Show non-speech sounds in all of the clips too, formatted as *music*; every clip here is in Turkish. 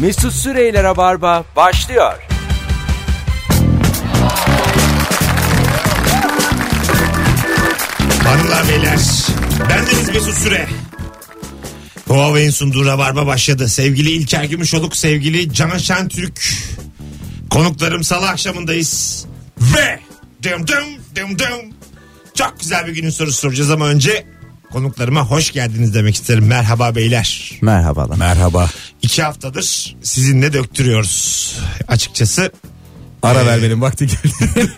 Mesut Süreyle Rabarba başlıyor. Hanımlar beyler bendeniz Mesut Süre. Huawei'in sunduğu Rabarba başladı. Sevgili İlker Gümüşoluk, sevgili Can Şentürk. Konuklarım salı akşamındayız. Ve dım dım dım dım. Çok güzel bir günün sorusu soracağız ama önce konuklarıma hoş geldiniz demek isterim. Merhaba beyler. Merhabalar. Merhaba. İki haftadır sizinle döktürüyoruz. Açıkçası Ara vermenin vakti geldi. *laughs*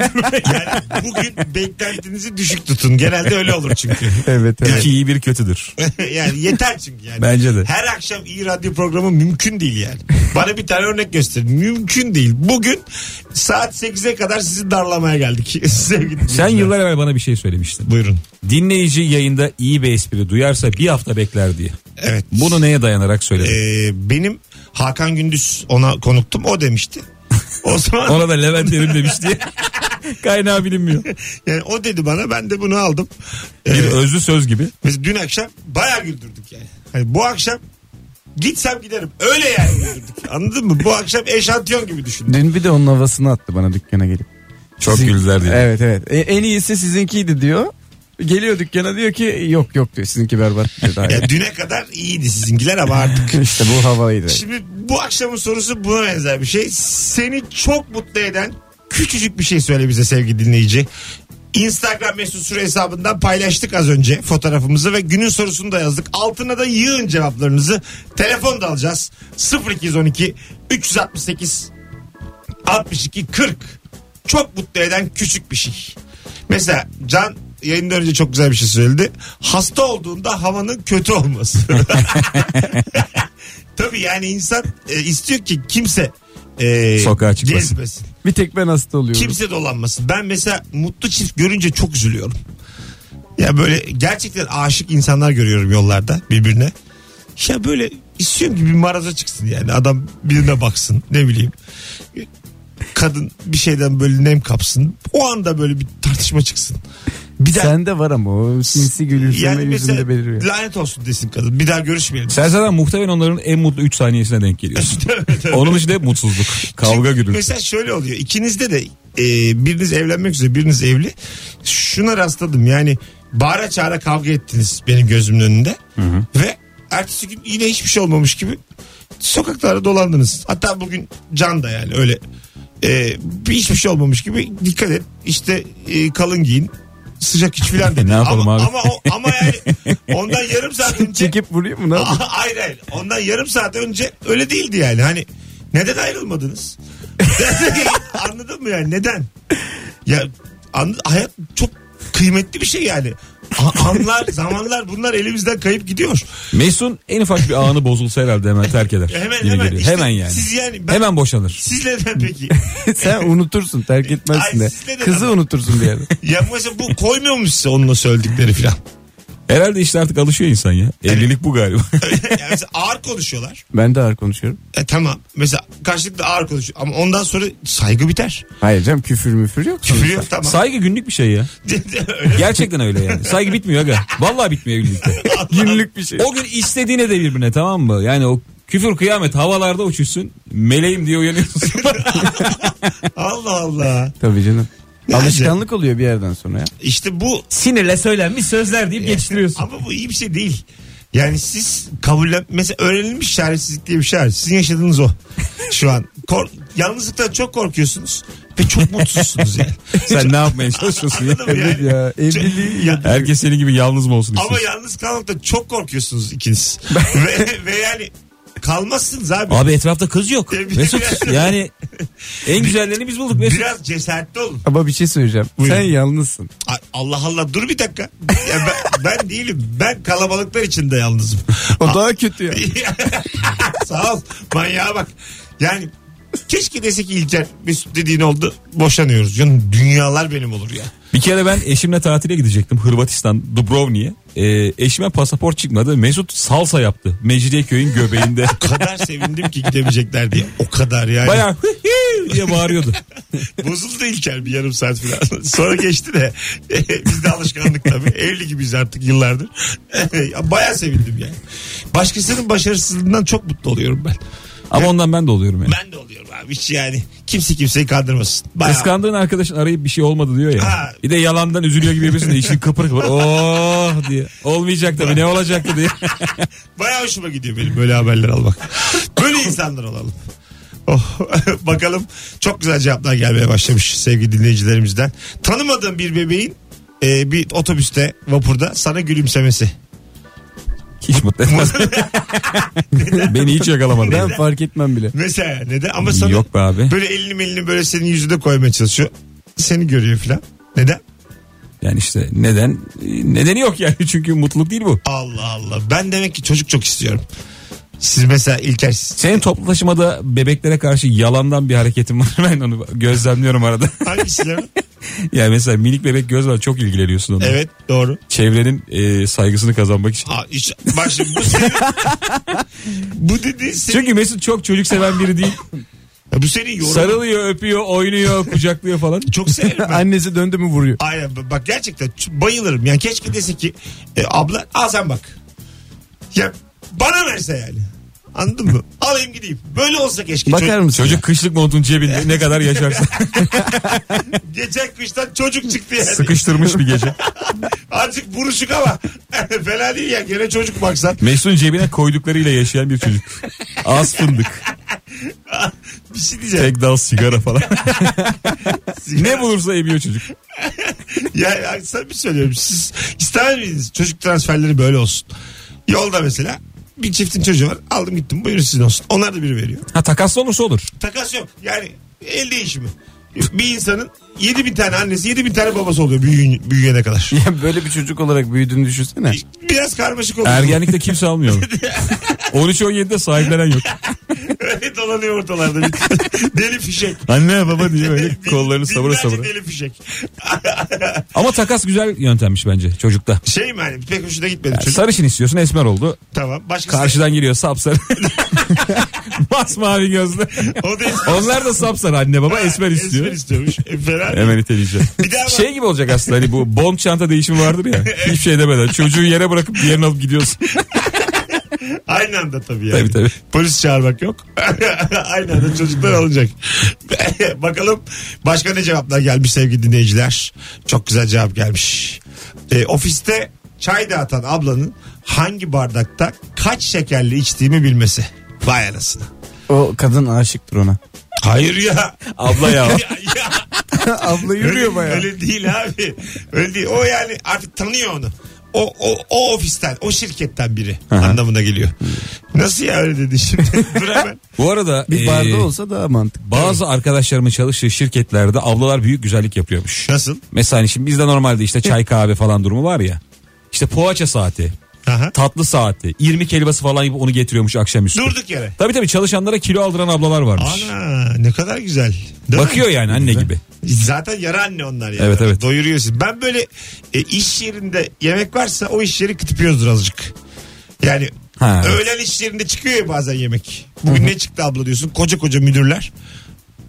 yani bugün beklentinizi düşük tutun. Genelde öyle olur çünkü. evet, evet. İki iyi bir kötüdür. yani yeter çünkü yani. Bence de. Her akşam iyi radyo programı mümkün değil yani. Bana bir tane örnek gösterin. Mümkün değil. Bugün saat 8'e kadar sizi darlamaya geldik. *laughs* Sevgili Sen dinleyiciler. yıllar evvel bana bir şey söylemiştin. Buyurun. Dinleyici yayında iyi bir espri duyarsa bir hafta bekler diye. Evet. Bunu neye dayanarak söyledin? Ee, benim Hakan Gündüz ona konuktum. O demişti. *laughs* O zaman Ona da E, Levent Evrim demiş diye. *laughs* Kaynağı bilinmiyor. *laughs* yani o dedi bana ben de bunu aldım. Ee, Bir E, özlü söz gibi. Mesela dün akşam bayağı güldürdük yani. Hani bu akşam gitsem giderim. Öyle yani güldürdük. Anladın mı? Bu akşam eşantiyon gibi *laughs* *laughs* düşündüm. Dün bir de onun havasını attı bana dükkana gelip. Çok Sizin- güldüler diye. Evet evet. E, en iyisi sizinkiydi diyor. Geliyor dükkana diyor ki yok yok diyor sizinki berbat diyor. *laughs* Daha iyi. Ya düne kadar iyiydi sizinkiler ama artık. işte bu havaydı. Şimdi bu akşamın sorusu buna benzer bir şey. Seni çok mutlu eden küçücük bir şey söyle bize sevgili dinleyici. Instagram mesut süre hesabından paylaştık az önce fotoğrafımızı ve günün sorusunu da yazdık. Altına da yığın cevaplarınızı. Telefon da alacağız. 0212 368 62 40. Çok mutlu eden küçük bir şey. Mesela Can yayından önce çok güzel bir şey söyledi. Hasta olduğunda havanın kötü olması. Tabii yani insan e, istiyor ki kimse e, Sokağa çıkmasın. gezmesin. Bir tek ben hasta oluyorum. Kimse dolanmasın. Ben mesela mutlu çift görünce çok üzülüyorum. Ya böyle gerçekten aşık insanlar görüyorum yollarda birbirine. Ya böyle istiyorum ki bir maraza çıksın yani. Adam birine baksın ne bileyim. Kadın bir şeyden böyle nem kapsın. O anda böyle bir tartışma çıksın. Bir daha Sende var ama o sinsi gülümseme yani yüzünde mesela beliriyor. lanet olsun desin kadın. Bir daha görüşmeyelim. Sen zaten muhtemelen onların en mutlu 3 saniyesine denk *laughs* geliyorsun. Onun için de hep mutsuzluk. Kavga Çünkü gürültü. Mesela şöyle oluyor. İkinizde de e, biriniz evlenmek üzere biriniz evli. Şuna rastladım yani bağıra çağıra kavga ettiniz benim gözümün önünde. Ve ertesi gün yine hiçbir şey olmamış gibi sokaklarda dolandınız. Hatta bugün can da yani öyle e, bir- hiçbir şey olmamış gibi dikkat et. İşte e, kalın giyin sıcak iç *laughs* filan dedi. Ne yapalım ama, abi? Ama, o- ama yani ondan yarım *laughs* saat önce Çekip vuruyor mu ne yapıyor? *laughs* hayır hayır. Ondan yarım saat önce öyle değildi yani. Hani neden ayrılmadınız? *laughs* Anladın mı yani neden? Ya an- hayat çok kıymetli bir şey yani. A- anlar, zamanlar bunlar elimizden kayıp gidiyor. E, Mesut'un en ufak bir anı bozulsa herhalde hemen terk eder. Hemen Yine hemen. geliyor. İşte hemen yani. Siz yani ben, Hemen boşanır. Siz neden peki? Sen unutursun terk Ay, etmezsin de. sizde de Kızı var. unutursun bir *laughs* yerde. ya mesela bu koymuyor mu size onunla söyledikleri falan? *laughs* Herhalde işte artık alışıyor insan ya. Evlilik bu galiba. yani mesela ağır konuşuyorlar. Ben de ağır konuşuyorum. E tamam. Mesela karşılıklı ağır konuşuyor. Ama ondan sonra saygı biter. Hayır canım küfür müfür yok. Küfür yok tamam. Saygı günlük bir şey ya. *laughs* Öyle Gerçekten öyle yani. Saygı bitmiyor aga. Vallahi bitmiyor evlilikte. Günlük bir şey. O gün istediğine de birbirine tamam mı? Yani o küfür kıyamet havalarda uçuşsun. Meleğim *laughs* diye uyanıyorsun. Allah Allah. Tabii canım. *laughs* Yani- Alışkanlık oluyor bir yerden sonra ya. İşte bu Sinirle söylenmiş sözler deyip geçiştiriyorsun. ama bu iyi bir şey değil. Yani siz kabullen mesela öğrenilmiş çaresizlik diye bir şey var. Sizin yaşadığınız o şu an. Kork yalnızlıktan çok korkuyorsunuz ve çok mutsuzsunuz yani. Sen ne yapmaya çalışıyorsun ya? Anladın mı Evet ya, evliliği Ya- Herkes senin gibi yalnız mı olsun ama istiyorsun? yalnız kalmaktan çok korkuyorsunuz ikiniz. ve, ve yani kalmazsınız abi. Abi etrafta kız yok. Tabii. Mesut yani en güzellerini biz bulduk Mesut. Biraz cesaretli olun. Ama bir şey söyleyeceğim. Buyurun. Sen yalnızsın. Ay, Allah Allah dur bir dakika. Ya ben, ben değilim. Ben kalabalıklar içinde yalnızım. O daha kötü ya. *laughs* Sağ ol. Manyağa bak. Yani keşke dese ki İlker Mesut dediğin oldu. Boşanıyoruz. Canım dünyalar benim olur ya. Bir kere ben eşimle tatile gidecektim Hırvatistan Dubrovnik'e. Ee, eşime pasaport çıkmadı. Mesut salsa yaptı. *laughs* Mecidiyeköy'ün göbeğinde. O kadar sevindim ki gidemeyecekler diye. O kadar yani. Bayağı "Hı hı" diye bağırıyordu. Bozuldu İlker bir yarım saat falan. *laughs* Sonra geçti de bizde alışkanlık tabii. Evli gibiyiz artık yıllardır. *laughs* Bayağı sevindim yani. Başkasının başarısızlığından çok mutlu oluyorum ben. Ama ondan ben de oluyorum yani. Ben de oluyorum abi hiç yani. Kimse kimseyi kandırmasın. Bayağı. Kıskandığın arkadaşın arayıp bir şey olmadı diyor ya. Ha. Bir de yalandan üzülüyor gibi yapıyorsun da işin kıpır kıpır. Oh diye. Olmayacak tabii ne olacaktı diye. *laughs* Bayağı hoşuma gidiyor benim böyle haberler almak. Böyle insanlar olalım. Oh, *laughs* bakalım çok güzel cevaplar gelmeye başlamış sevgili dinleyicilerimizden. Tanımadığım bir bebeğin e, bir otobüste vapurda sana gülümsemesi. *laughs* Hiç mutlu etmez. Beni hiç yakalamadı. Ben fark etmem bile. Mesela neden ama sana Yok be abi. böyle elini elini böyle senin yüzüne koymaya çalışıyor. Seni görüyor filan. Neden? Yani işte neden? Nedeni yok yani *laughs* çünkü mutluluk değil bu. Allah Allah. Ben demek ki çocuk çok istiyorum. Siz mesela İlker siz- Senin toplu taşımada bebeklere karşı yalandan bir hareketin var. *laughs* Ben onu gözlemliyorum arada. *laughs* hangisiler? yani mesela minik bebek göz var çok ilgileniyorsun onunla. evet doğru. Çevrenin e, saygısını kazanmak için. Ha, iş, bak şimdi bu *laughs* senin, bu dedi senin, Çünkü Mesut çok çocuk seven biri değil. bu senin yorumun. Sarılıyor, öpüyor, oynuyor, kucaklıyor falan. Çok severim *laughs* ben. Annesi döndü mü vuruyor. Aynen b- bak gerçekten ç- bayılırım. Yani keşke dese ki e, abla al sen bak. Ya bana verse yani. Anladın *laughs* mı? Alayım gideyim. Böyle olsa keşke. Bakar Çocuk- mısın? Çocuk kışlık montun cebinde ne kadar *laughs* yaşarsa Geçen kıştan çocuk çıktı yani. sıkıştırmış bir gece. *laughs* Azıcık buruşuk ama *laughs* fena değil ya. Gene çocuk baksan. Mesut'un cebine koyduklarıyla yaşayan bir çocuk. Az fındık, Bir şey diyeceğim. tek dal sigara *laughs* falan. ne bulursa emiyor çocuk. Ya, ya sana bir şey söylüyorum. Siz ister miydiniz çocuk transferleri böyle olsun? Yolda mesela bir çiftin çocuğu var. Aldım gittim. Buyurun sizin olsun. Onlar da biri veriyor. Ha takaslı olursa olur. Takas yok. Yani el değişimi. Bir insanın 7 bin tane annesi 7 bin tane babası oluyor büyüyün, büyüyene kadar. Ya böyle bir çocuk olarak büyüdüğünü düşünsene. Biraz karmaşık oluyor. *laughs* Ergenlikte kimse *laughs* almıyor. 13-17'de sahiplenen yok. Öyle dolanıyor ortalarda. *laughs* Bir- deli fişek. Anne baba diye *laughs* böyle Bin- kollarını savura binlerce savura. deli fişek. Ama takas güzel yöntemmiş bence çocukta. Şey mi hani pek hoşuna gitmedi çocuk. Sarışın istiyorsun esmer oldu. tamam. Başkası. Karşıdan giriyor *laughs* sapsarı. Basmavi gözlü. O da Onlar da sapsarı anne baba esmer Esmer istiyor. istiyormuş. E, fena değil. Hemen iteleyeceğim. Bir daha bak. Şey gibi olacak aslında hani bu bond çanta değişimi vardır *laughs* ya. Hiçbir şey demeden çocuğu yere bırakıp diğerini alıp gidiyorsun. Aynı anda tabii yani. Tabii, tabii. Polis çağırmak yok. *laughs* Aynı anda çocuklar alınacak. *laughs* Bakalım başka ne cevaplar gelmiş sevgili dinleyiciler. Çok güzel cevap gelmiş. Ee, ofiste çay dağıtan ablanın hangi bardakta kaç şekerli içtiğimi bilmesi. Vay anasını. O kadın aşıktır ona. Hayır ya. Abla *laughs* *laughs* ya. ya, ya. *laughs* Abla Öyle, yürüyor bayağı. öyle değil abi. Öyle değil. O yani artık tanıyor onu. O, o, o ofisten, o şirketten biri anlamına geliyor. Nasıl ya öyle dedi şimdi? Dur hemen. Bu arada Bir barda eee, olsa daha *laughs* mantıklı. bazı arkadaşlarımın çalıştığı şirketlerde ablalar büyük güzellik yapıyormuş. Nasıl? Mesela hani şimdi bizde normalde işte çay kahve falan durumu var ya. İşte poğaça saati, Aha. tatlı saati, 20 helvası falan gibi onu getiriyormuş akşamüstü. Durduk yere. Tabii tabii çalışanlara kilo aldıran ablalar varmış. Ana ne kadar güzel. Değil mi? Bakıyor yani anne gibi. Zaten yara anne onlar yani. Evet, evet. Doyuruyorsun. Ben böyle e, iş yerinde yemek varsa o iş yeri kıtıpıyoruzdur azıcık. Yani Ha, evet. öğlen iş yerinde çıkıyor ya bazen yemek. Bugün ne çıktı abla diyorsun. Koca koca müdürler.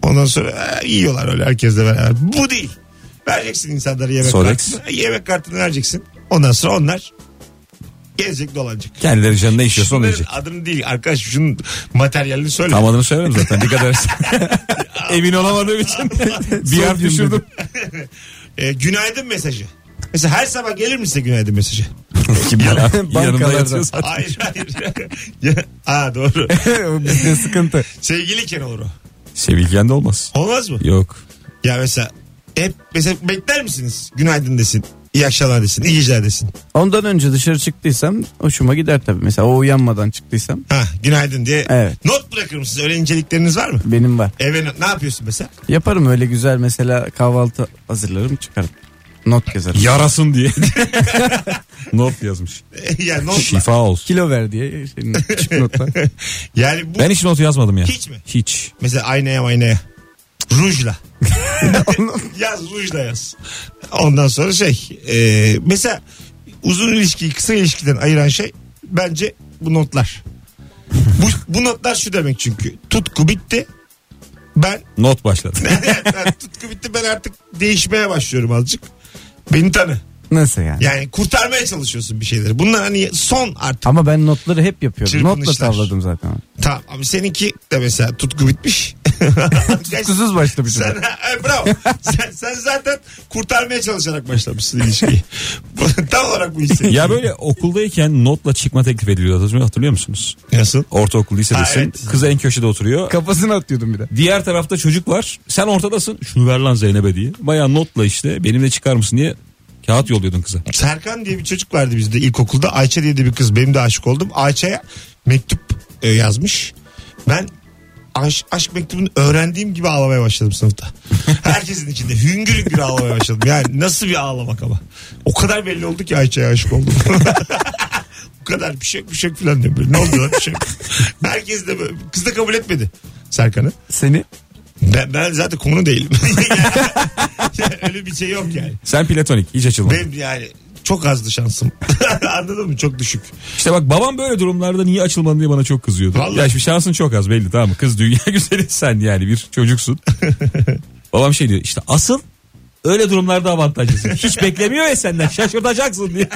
Ondan sonra e, yiyorlar öyle herkesle beraber. Bu değil. Vereceksin insanlara yemek Sorex. kartını. E, Yemek kartını vereceksin. Ondan sonra onlar gezecek dolanacak. Kendileri canına işiyorsa onu Şunların yiyecek. adını değil arkadaş şunun materyalini söyle. Tam adını söylemedim zaten dikkat edersen. *laughs* Emin olamadığım için bir harf Sordum düşürdüm. E, günaydın mesajı. Mesela her sabah gelir mi size günaydın mesajı? *laughs* Kim ya? Yanımda Bankalardan. yatıyor zaten. hayır hayır. *laughs* ya, aa *laughs* doğru. Bizde sıkıntı. Sevgiliyken olur o. Sevilgen de olmaz. Olmaz mı? Yok. Ya mesela hep mesela bekler misiniz? Günaydın desin. İyi akşamlar desin. iyi geceler desin. Ondan önce dışarı çıktıysam hoşuma gider tabii. Mesela o uyanmadan çıktıysam Ha günaydın diye. Evet. Not bırakır mısınız? Öyle incelikleriniz var mı? benim var. Eve no- ne yapıyorsun mesela? *laughs* Yaparım öyle güzel mesela kahvaltı hazırlarım çıkarım. Not yazarım. Yarasın diye. Not yazmış. yani notla. Şifa olsun. Kilo ver diye şey, küçük *laughs* notlar. *laughs* Yani bu Ben hiç not yazmadım ya. Hiç mi? Hiç. mesela aynaya aynaya. Rujla. yaz rujla yaz. Ondan sonra şey e, mesela uzun ilişkiyi kısa ilişkiden ayıran şey bence bu notlar. bu, bu notlar şu demek çünkü tutku bitti. Ben, *laughs* Not başladı. ben tutku bitti ben artık değişmeye başlıyorum azıcık. Beni tanı. Nasıl yani? Yani kurtarmaya çalışıyorsun bir şeyleri. Bunlar hani son artık. Ama ben notları hep yapıyorum. Notla Çırpınışlar. tavladım zaten. Tamam abi seninki de mesela tutku bitmiş. *laughs* Kusuz başlamışım. Sen, *laughs* e, bravo. sen, sen zaten kurtarmaya çalışarak başlamışsın ilişkiyi. *laughs* Bu- Tam olarak *laughs* bu hissettiriyor. Ya böyle okuldayken notla çıkma teklif ediliyor hatırlıyor- hatırlıyor musunuz? Nasıl? Ortaokul lisedesin. Ha, evet. Kız en köşede oturuyor. Kafasını atıyordum bir de. Diğer tarafta çocuk var. Sen ortadasın. Şunu ver lan Zeynep'e diye. Baya notla işte benimle çıkar mısın diye kağıt yolluyordun kıza. Serkan diye bir çocuk vardı bizde ilkokulda. Ayça diye de bir kız. Benim de aşık oldum. Ayça'ya mektup e, yazmış. Ben aş- aşk mektubunu öğrendiğim gibi ağlamaya başladım sınıfta. Herkesin içinde hüngür hüngür ağlamaya başladım. Yani nasıl bir ağlamak ama. O kadar belli oldu ki Ayça'ya aşık oldum. *laughs* Bu kadar bir şey yok, bir şey yok falan diyor. Böyle, ne oldu lan bir şey yok. Herkes de böyle. Kız da kabul etmedi Serkan'ı. Seni *laughs* Ben, ben zaten konu değilim. *laughs* yani, öyle bir şey yok yani. Sen platonik hiç açılmadın. Benim yani çok azdı şansım. *laughs* Anladın mı? Çok düşük. İşte bak babam böyle durumlarda niye açılmadın diye bana çok kızıyordu. Vallahi. Ya şimdi şansın çok az belli tamam mı? Kız dünya *laughs* güzeli sen yani bir *laughs* çocuksun. Babam şey diyor işte asıl öyle durumlarda avantajlısın. Hiç beklemiyor ya senden şaşırtacaksın diye.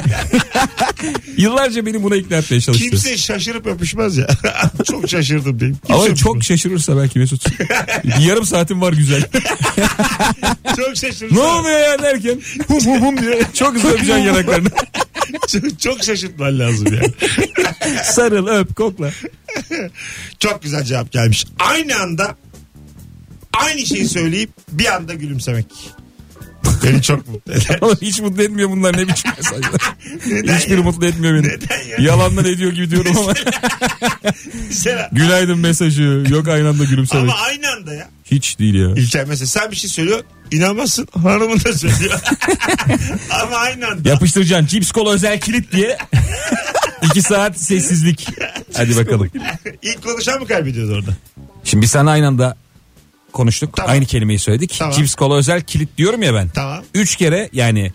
*laughs* Yıllarca beni buna ikna etmeye çalıştı. Kimse şaşırıp öpüşmez ya. *laughs* çok şaşırdım diyeyim. Kimse Ama öpüşmez. çok şaşırırsa belki Mesut. Bir yarım saatim var güzel. çok şaşırdım. ne oluyor ya derken hum hum hum diye çok hızlı öpeceksin yanaklarını. çok, *laughs* çok şaşırtman lazım ya. Sarıl öp kokla. Çok güzel cevap gelmiş. Aynı anda aynı şeyi söyleyip bir anda gülümsemek. Beni çok mutlu *laughs* eder. Oğlum hiç mutlu etmiyor bunlar ne biçim mesajlar. Neden Hiçbiri ya? mutlu etmiyor *laughs* beni. Neden ya? Yalandan ediyor gibi *laughs* diyorum ama. Mesela- Günaydın mesajı. Yok aynı anda gülümsemek. Ama aynı anda ya. Hiç değil ya. İlker mesela sen bir şey söylüyor. inanmazsın hanımın da *laughs* söylüyor. Ama aynı anda. Yapıştıracaksın cips kola özel *laughs* kilit diye. İki saat sessizlik. Hadi bakalım. İlk konuşan mı kaybediyordu orada? Şimdi biz seninle aynı anda konuştuk. Tamam. Aynı kelimeyi söyledik. Tamam. Cips kola özel kilit diyorum ya ben. Tamam. Üç kere yani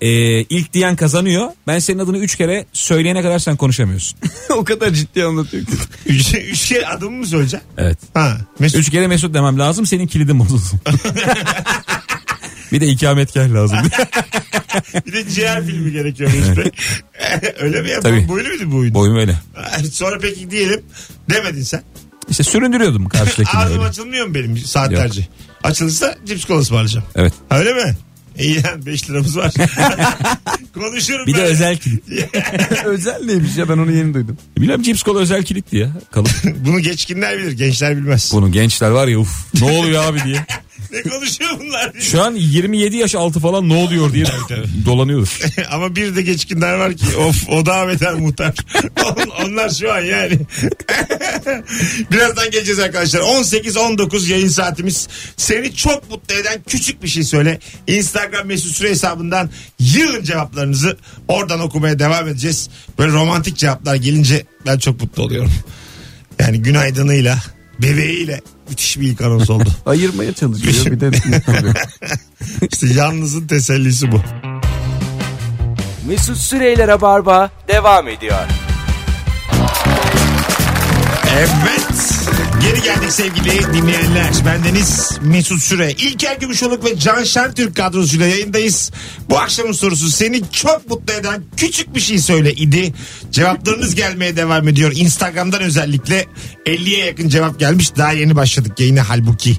e, ilk diyen kazanıyor. Ben senin adını üç kere söyleyene kadar *laughs* sen konuşamıyorsun. o kadar ciddi anlatıyor ki. Üç, üç kere adımı mı söyleyeceksin? Evet. Ha. Mesut Üç kere Mesut demem lazım senin *laughs* kilidin bozulsun. bir de ikametgah lazım. Bir de ciğer filmi gerekiyor Mesut Bey. *laughs* Öyle mi ya? Tabii. Böyle miydi bu oyun? Boyum öyle. Sonra peki diyelim demedin sen. İşte süründürüyordum karşıdakini Ağzım öyle. açılmıyor mu benim saatlerce? Açılırsa cips kola ısmarlayacağım. Evet. Öyle mi? İyi yani 5 liramız *laughs* var. Konuşurum Bir de ben. özel kilit. *laughs* E, Özel neymiş ya ben onu yeni duydum. Bilmem cips kola özel kilit diye. *laughs* Kalıp. Bunu geçkinler bilir gençler bilmez. Bunu gençler var ya uf ne oluyor abi diye. Ne konuşuyor bunlar *laughs* diye. Şu an 27 yaş altı falan ne oluyor diye dolanıyoruz. *laughs* Ama bir de geçkinler var ki of o daha beter muhtar. *laughs* On- Onlar şu an yani. *laughs* Birazdan geleceğiz arkadaşlar. 18-19 yayın saatimiz. Seni çok mutlu eden küçük bir şey söyle. Instagram mesut süre hesabından yığın cevaplarınızı. Oradan okumaya devam edeceğiz. Böyle romantik cevaplar gelince ben çok mutlu oluyorum. Yani günaydınıyla, bebeğiyle müthiş bir ilk anons oldu. Ayırmaya çalışıyor bir de. İşte yalnızın tesellisi bu. Mesut Süreyler'e barba devam ediyor. Evet. Geri geldik sevgili dinleyenler. Bendeniz Mesut Süre. İlker Gümüşoluk ve Can Şentürk kadrosuyla yayındayız. Bu akşamın sorusu seni çok mutlu eden küçük bir şey söyle idi. Cevaplarınız gelmeye devam ediyor. Instagram'dan özellikle 50'ye yakın cevap gelmiş. Daha yeni başladık yayına halbuki.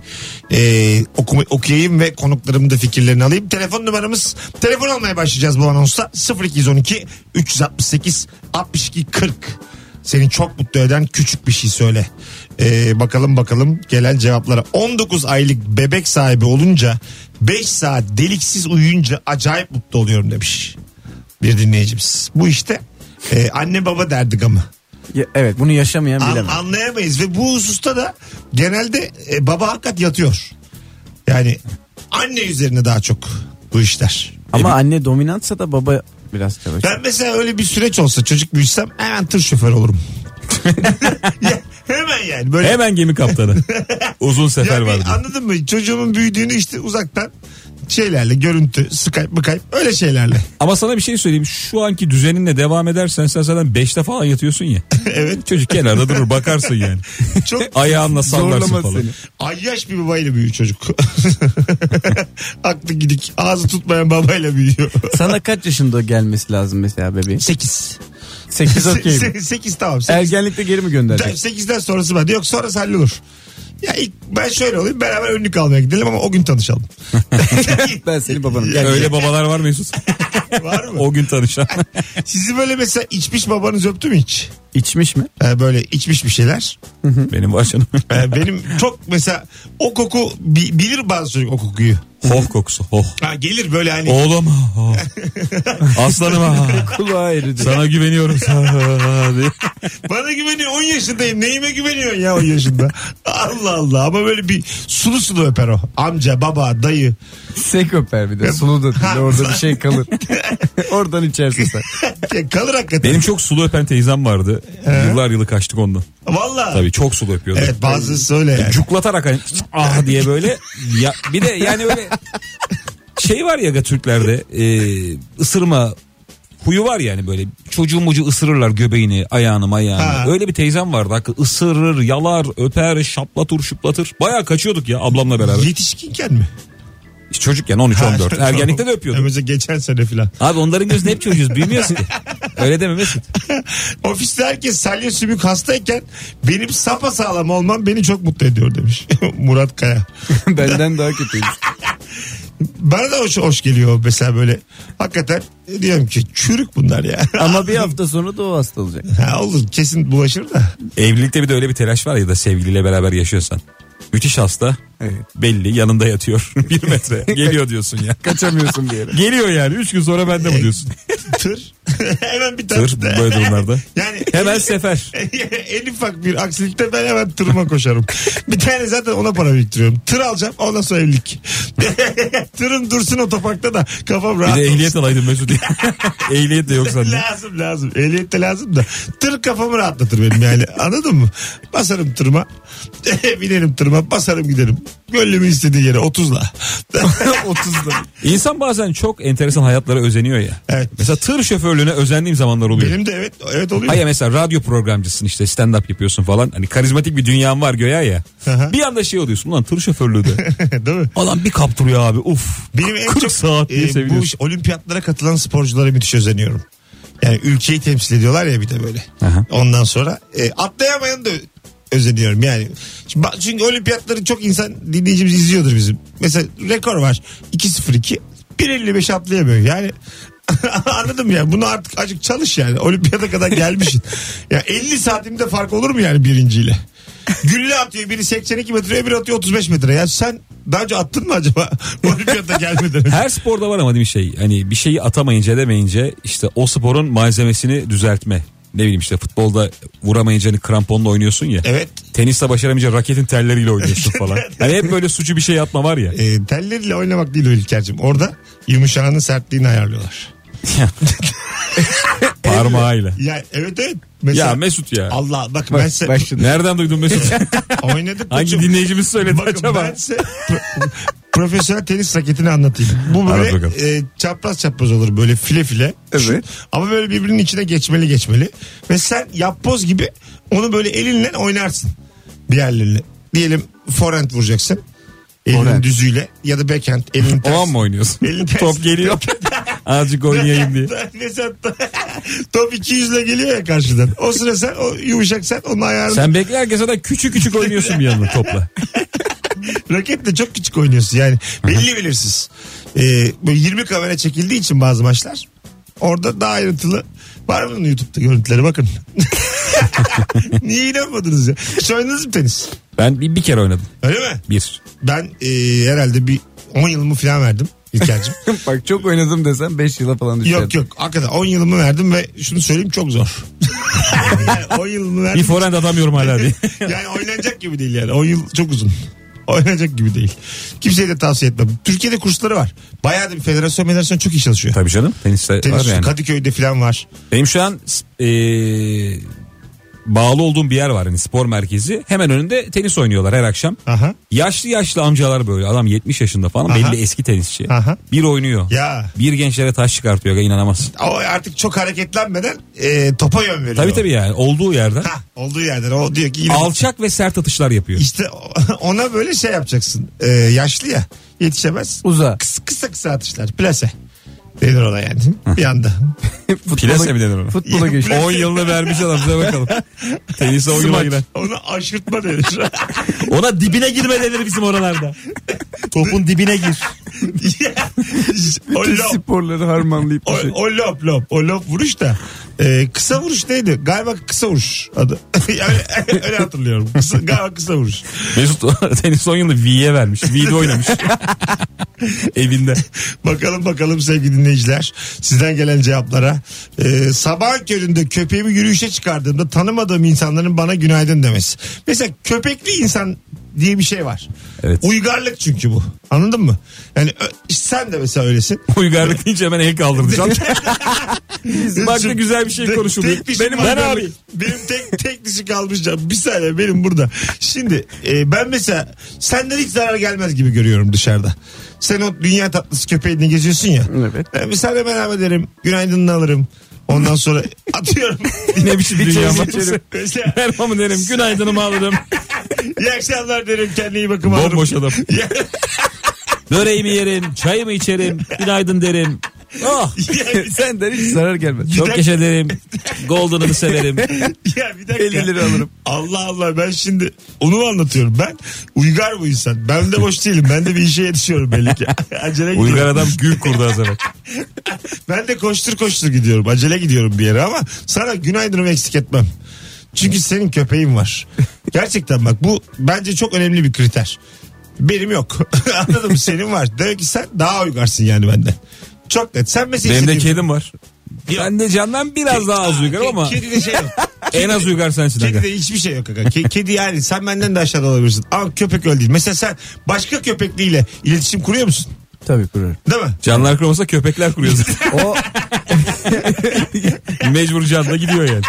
Ee, okuma, okuyayım ve konuklarımın da fikirlerini alayım. Telefon numaramız telefon almaya başlayacağız bu anonsta. 0212 368 62 40 seni çok mutlu eden küçük bir şey söyle. Ee, bakalım bakalım gelen cevaplara. 19 aylık bebek sahibi olunca 5 saat deliksiz uyuyunca acayip mutlu oluyorum demiş bir dinleyicimiz. Bu işte e, anne baba derdik ama. *laughs* Ya, evet bunu yaşamayan An- bilemez. anlayamayız ve bu hususta da genelde e, baba hakikat yatıyor. Yani anne üzerine daha çok bu işler. Ama anne dominantsa da baba biraz çalışıyor. Ben mesela öyle bir süreç olsa çocuk büyüsem hemen tır şoförü olurum. *laughs* ya, hemen yani böyle Hemen gemi kaptanı. Uzun Ya sefer bir vardı. Anladın mı? Çocuğumun büyüdüğünü işte uzaktan şeylerle görüntü, Skype, Skype öyle şeylerle. Ama sana bir şey söyleyeyim. Şu anki düzeninle devam edersen sen zaten 5'te falan yatıyorsun ya. *laughs* Evet. Çocuk kenarda durur bakarsın yani. *laughs* Çok Ayağınla sallarsın Zorlamaz falan. seni. ayyaş bir babayla büyüyor çocuk. *laughs* Aklı gidik. Ağzı tutmayan babayla büyüyor. Sana kaç yaşında gelmesi lazım mesela *laughs* bebeğin? 8. 8 okey. mi? 8 tamam. 8. Ergenlikte geri mi gönderecek? 8'den sonrası bende. Yok sonrası hallolur. Ya ilk ben şöyle olayım beraber önlük almaya gidelim ama o gün tanışalım. Ben senin babanım. *laughs* Ya- Öyle babalar var Mesut. Var mı? o *laughs* gün tanışan. Sizi böyle mesela içmiş babanız öptü mü hiç? İçmiş mi? Ee, böyle içmiş bir şeyler. Benim var canım. Ee, benim çok mesela o koku bi- bilir bazı çocuk o kokuyu. Hoh kokusu. Hoh. Ha, gelir böyle hani. Oğlum. *laughs* hoh. Aslanım. ha. Kulağa eridi. Sana güveniyorum. Bana güveniyor 10 yaşındayım. Neyime güveniyorsun ya 10 *laughs* yaşında? Allah Allah ama böyle bir sulu sulu öper o. Amca, baba, dayı. *laughs* *laughs* Sek öper bir de. Sulu da değil. Orada bir şey *laughs* kalır. Oradan içersin *laughs* sen. Ya Kalır hakikaten. *laughs* Benim çok sulu öpen teyzem vardı. Yıllar yılı kaçtık ondan. Valla. Tabii çok sulu öpüyordu. Evet bazısı öyle yani. Cuklatarak hani ah diye böyle. Ya, bir de yani öyle şey var ya Türklerde e, ısırma huyu var yani böyle çocuğun mucu ısırırlar göbeğini ayağını ayağını. Ha. Öyle bir teyzem vardı hakikaten ısırır yalar öper şaplatır şuplatır. Baya kaçıyorduk ya ablamla beraber. Yetişkinken mi? *laughs* Çocukken 13-14 Ha, ergenlikte de Ya öpüyorduk. Mesela geçen sene filan. *laughs* Abi onların gözünde hep çocuğuz büyümüyoruz *laughs* ki. Öyle deme Mesut. Ofiste herkes salya sümük hastayken benim sapa sağlam olmam beni çok mutlu ediyor demiş *laughs* Murat Kaya. Benden daha kötüymüş. Bana da hoş, hoş geliyor mesela böyle. Hakikaten diyorum ki çürük bunlar ya. *laughs* Ama bir hafta sonra da o hasta olacak. ha, olur kesin bulaşır da. Evlilikte bir de öyle bir telaş var ya da sevgiliyle beraber yaşıyorsan. Müthiş hasta. Evet. Belli yanında *laughs* yatıyor. bir metre. Geliyor diyorsun ya. Kaçamıyorsun bir yere. Geliyor yani. Üç gün sonra bende mi diyorsun? *laughs* Tır. *laughs* hemen bir tane. Tır böyle durumlarda. *laughs* Yani *laughs* Hemen sefer. en ufak bir aksilikte ben hemen tırıma koşarım. bir tane zaten ona para biriktiriyorum. Tır alacağım ondan sonra evlilik. *laughs* Tırım dursun otoparkta da kafam Bir rahat de olsun. ehliyet alaydın *laughs* Mesut. ehliyet de yok sende. lazım lazım. Ehliyet de lazım da. Tır kafamı rahatlatır benim *laughs* yani. Anladın mı? Basarım tırma. *laughs* Binerim tırma. Basarım giderim. Gönlümün istediği yere *laughs* 30'la. 30'da. İnsan bazen çok enteresan hayatlara özeniyor ya. Evet. Mesela tır şoförlüğüne özendiğim zamanlar oluyor. Benim de evet evet oluyor. Hayır mesela radyo programcısın işte stand up yapıyorsun falan. Hani karizmatik bir dünyan var göya ya. Aha. Bir anda şey oluyorsun ulan tır şoförlüğü de. *laughs* Değil mi? Adam bir kaptırıyor abi uf. Benim en 40 çok saat diye e, bu seviniyorsun. iş- olimpiyatlara katılan sporculara müthiş özeniyorum. Yani ülkeyi temsil ediyorlar ya bir de böyle. Aha. Ondan sonra e, atlayamayan da özeniyorum yani. Çünkü, çünkü olimpiyatları çok insan dinleyicimiz izliyordur bizim. Mesela rekor var 2.02 1.55 atlayamıyor yani. *laughs* Anladım ya bunu artık acık çalış yani olimpiyata kadar gelmişsin. ya 50 saatimde fark olur mu yani birinciyle? Gülle atıyor biri 82 metre öbürü atıyor 35 metre. Ya sen daha önce attın mı acaba *laughs* olimpiyata gelmeden önce? Her sporda var ama değil mi şey? Hani bir şeyi atamayınca edemeyince işte o sporun malzemesini düzeltme. Ne bileyim işte futbolda vuramayınca hani kramponla oynuyorsun ya. Evet. Teniste başaramayınca raketin telleriyle oynuyorsun *laughs* falan. Hani hep böyle suçu bir şey atma var ya. E, telleriyle oynamak değil o İlker'cim. Orada yumuşağının sertliğini ayarlıyorlar. Parmağıyla. Ya evet evet. Ya Mesela Mesut ya. Allah bak ben size Başladı. Nereden duydun Mesut? *laughs* oynadık Hangi koçum. dinleyicimiz söyledi Bakın acaba? ben size pro- profesyonel tenis raketini anlatayım. Bu Anlat bakalım. böyle e, çapraz çapraz olur böyle file file. Evet. Ama böyle birbirinin içine geçmeli geçmeli. Ve sen yapboz gibi onu böyle elinle oynarsın. Bir yerlerle. Diyelim forehand vuracaksın. Elin Forehand. düzüyle ya da backhand elin O an tersi. mı oynuyorsun? Elin tersi. *laughs* Top geliyor. Azıcık oynayayım diye. Mesela *laughs* top 200 ile geliyor ya karşıdan. O sıra sen o yumuşak sen onun ayarını Sen beklerken zaten küçük küçük oynuyorsun bir yandan topla. raketle çok küçük oynuyorsun yani. Belli belirsiz. Ee, böyle 20 kamera çekildiği için bazı maçlar. Orada daha ayrıntılı. Var mı bunun YouTube'da görüntüleri bakın. *laughs* Niye inanmadınız ya? Hiç oynadınız mı tenis? Ben bir, bir kere oynadım. Öyle mi? Bir. Ben e, herhalde bir 10 yılımı falan verdim *laughs* İlker'cim. *laughs* Bak çok oynadım desen 5 yıla falan düşer. yok yok hakikaten 10 yılımı verdim ve şunu söyleyeyim çok zor. *laughs* yani 10 yılımı verdim. Bir forehand atamıyorum *laughs* hala diye. yani oynanacak gibi değil yani. 10 yıl çok uzun. Oynanacak gibi değil. Kimseye de tavsiye etmem. Türkiye'de kursları var. Bayağı da bir federasyon federasyon çok iyi çalışıyor. Tabii canım. Teniste var Tenis, yani. Kadıköy'de falan var. Benim şu an s- eee, e, bağlı olduğum bir yer var hani spor merkezi. Hemen önünde tenis oynuyorlar her akşam. Aha. Yaşlı yaşlı amcalar böyle adam 70 yaşında falan Aha. belli eski tenisçi. Aha. Bir oynuyor. Ya. Bir gençlere taş çıkartıyor aga, inanamazsın. O artık çok hareketlenmeden e, topa yön veriyor. Tabii tabii yani olduğu yerden. Ha, olduğu yerden o diyor ki yine Alçak ve sert atışlar yapıyor. işte *laughs* ona böyle şey yapacaksın. E, yaşlı ya yetişemez. Uza. Kısa kısa, kısa atışlar plase. Denir ona yani bir anda. Futbola- Plase mi denir ona? Futbola geç. 10 yılını vermiş adam *laughs* size bakalım. Tenise 10 yıla Smaç. giren. Ona aşırtma denir. Ona dibine girme denir *laughs* bizim oralarda. *laughs* Topun dibine gir. *laughs* o Tüm lop, sporları harmanlayıp bir o, şey. o lop lop. O lop vuruş da. E, kısa vuruş neydi? Galiba kısa vuruş adı. *laughs* öyle, öyle hatırlıyorum. Kısa, galiba kısa vuruş. Mesut *laughs* tenis 10 yılını V'ye vermiş. V'de oynamış. Evinde. Bakalım bakalım sevgili dinleyiciler sizden gelen cevaplara. Ee, sabah köründe köpeğimi yürüyüşe çıkardığımda tanımadığım insanların bana günaydın demesi. Mesela köpekli insan diye bir şey var. Evet. Uygarlık çünkü bu. Anladın mı? Yani ö- sen de mesela öylesin. Uygarlık deyince hemen el kaldırmış. Başka güzel bir şey Tek- konuşuluyor. tek dişim Benim var ben benim. abi. Benim tek tek dişi kalmış canım. Bir saniye benim burada. Şimdi e, ben mesela senden hiç zarar gelmez gibi görüyorum dışarıda. Sen o dünya tatlısı köpeğini geziyorsun ya. E, Evet. Ben bir saniye merhaba ederim. Günaydınını alırım. Ondan sonra atıyorum. *laughs* Ne biçim dünya çayımı var. *laughs* içerim. mesela Merhamı derim. Günaydınımı alırım. iyi akşamlar derim. Kendine iyi bakım alırım. *laughs* Bomboş adam. Böreğimi yerim. Çayımı içerim. Günaydın derim. Oh. Yani- Senden hiç zarar gelmez. Çok teşekkür ederim. Golden'ımı severim. *laughs* ya bir dakika. 50 lira alırım. Allah Allah ben şimdi onu mu anlatıyorum. Ben uygar bu insan. Ben de boş değilim. Ben de bir işe yetişiyorum belli *laughs* ki. Acele gidiyorum. Uygar adam gül kurdu az evvel. Ben de koştur koştur gidiyorum. Acele gidiyorum bir yere ama sana günaydınımı eksik etmem. Çünkü senin köpeğin var. Gerçekten bak bu bence çok önemli bir kriter. Benim yok. *laughs* Anladım senin var. Demek ki sen daha uygarsın yani benden. Çok net. Sen mesela Benim de istediğin- kedim var. Ben de candan biraz daha az uygar ama Kedide şey yok. en az uygar sensin. aga. Kedide hiçbir şey yok. Aga. Ke- Kedi yani sen benden de aşağıda olabilirsin. Ama köpek öyle değil. Mesela sen başka köpekliyle iletişim kuruyor musun? Tabii kurarım. Değil mi? Canlar kurmasa köpekler kuruyor *laughs* zaten. O Mecbur canla gidiyor yani.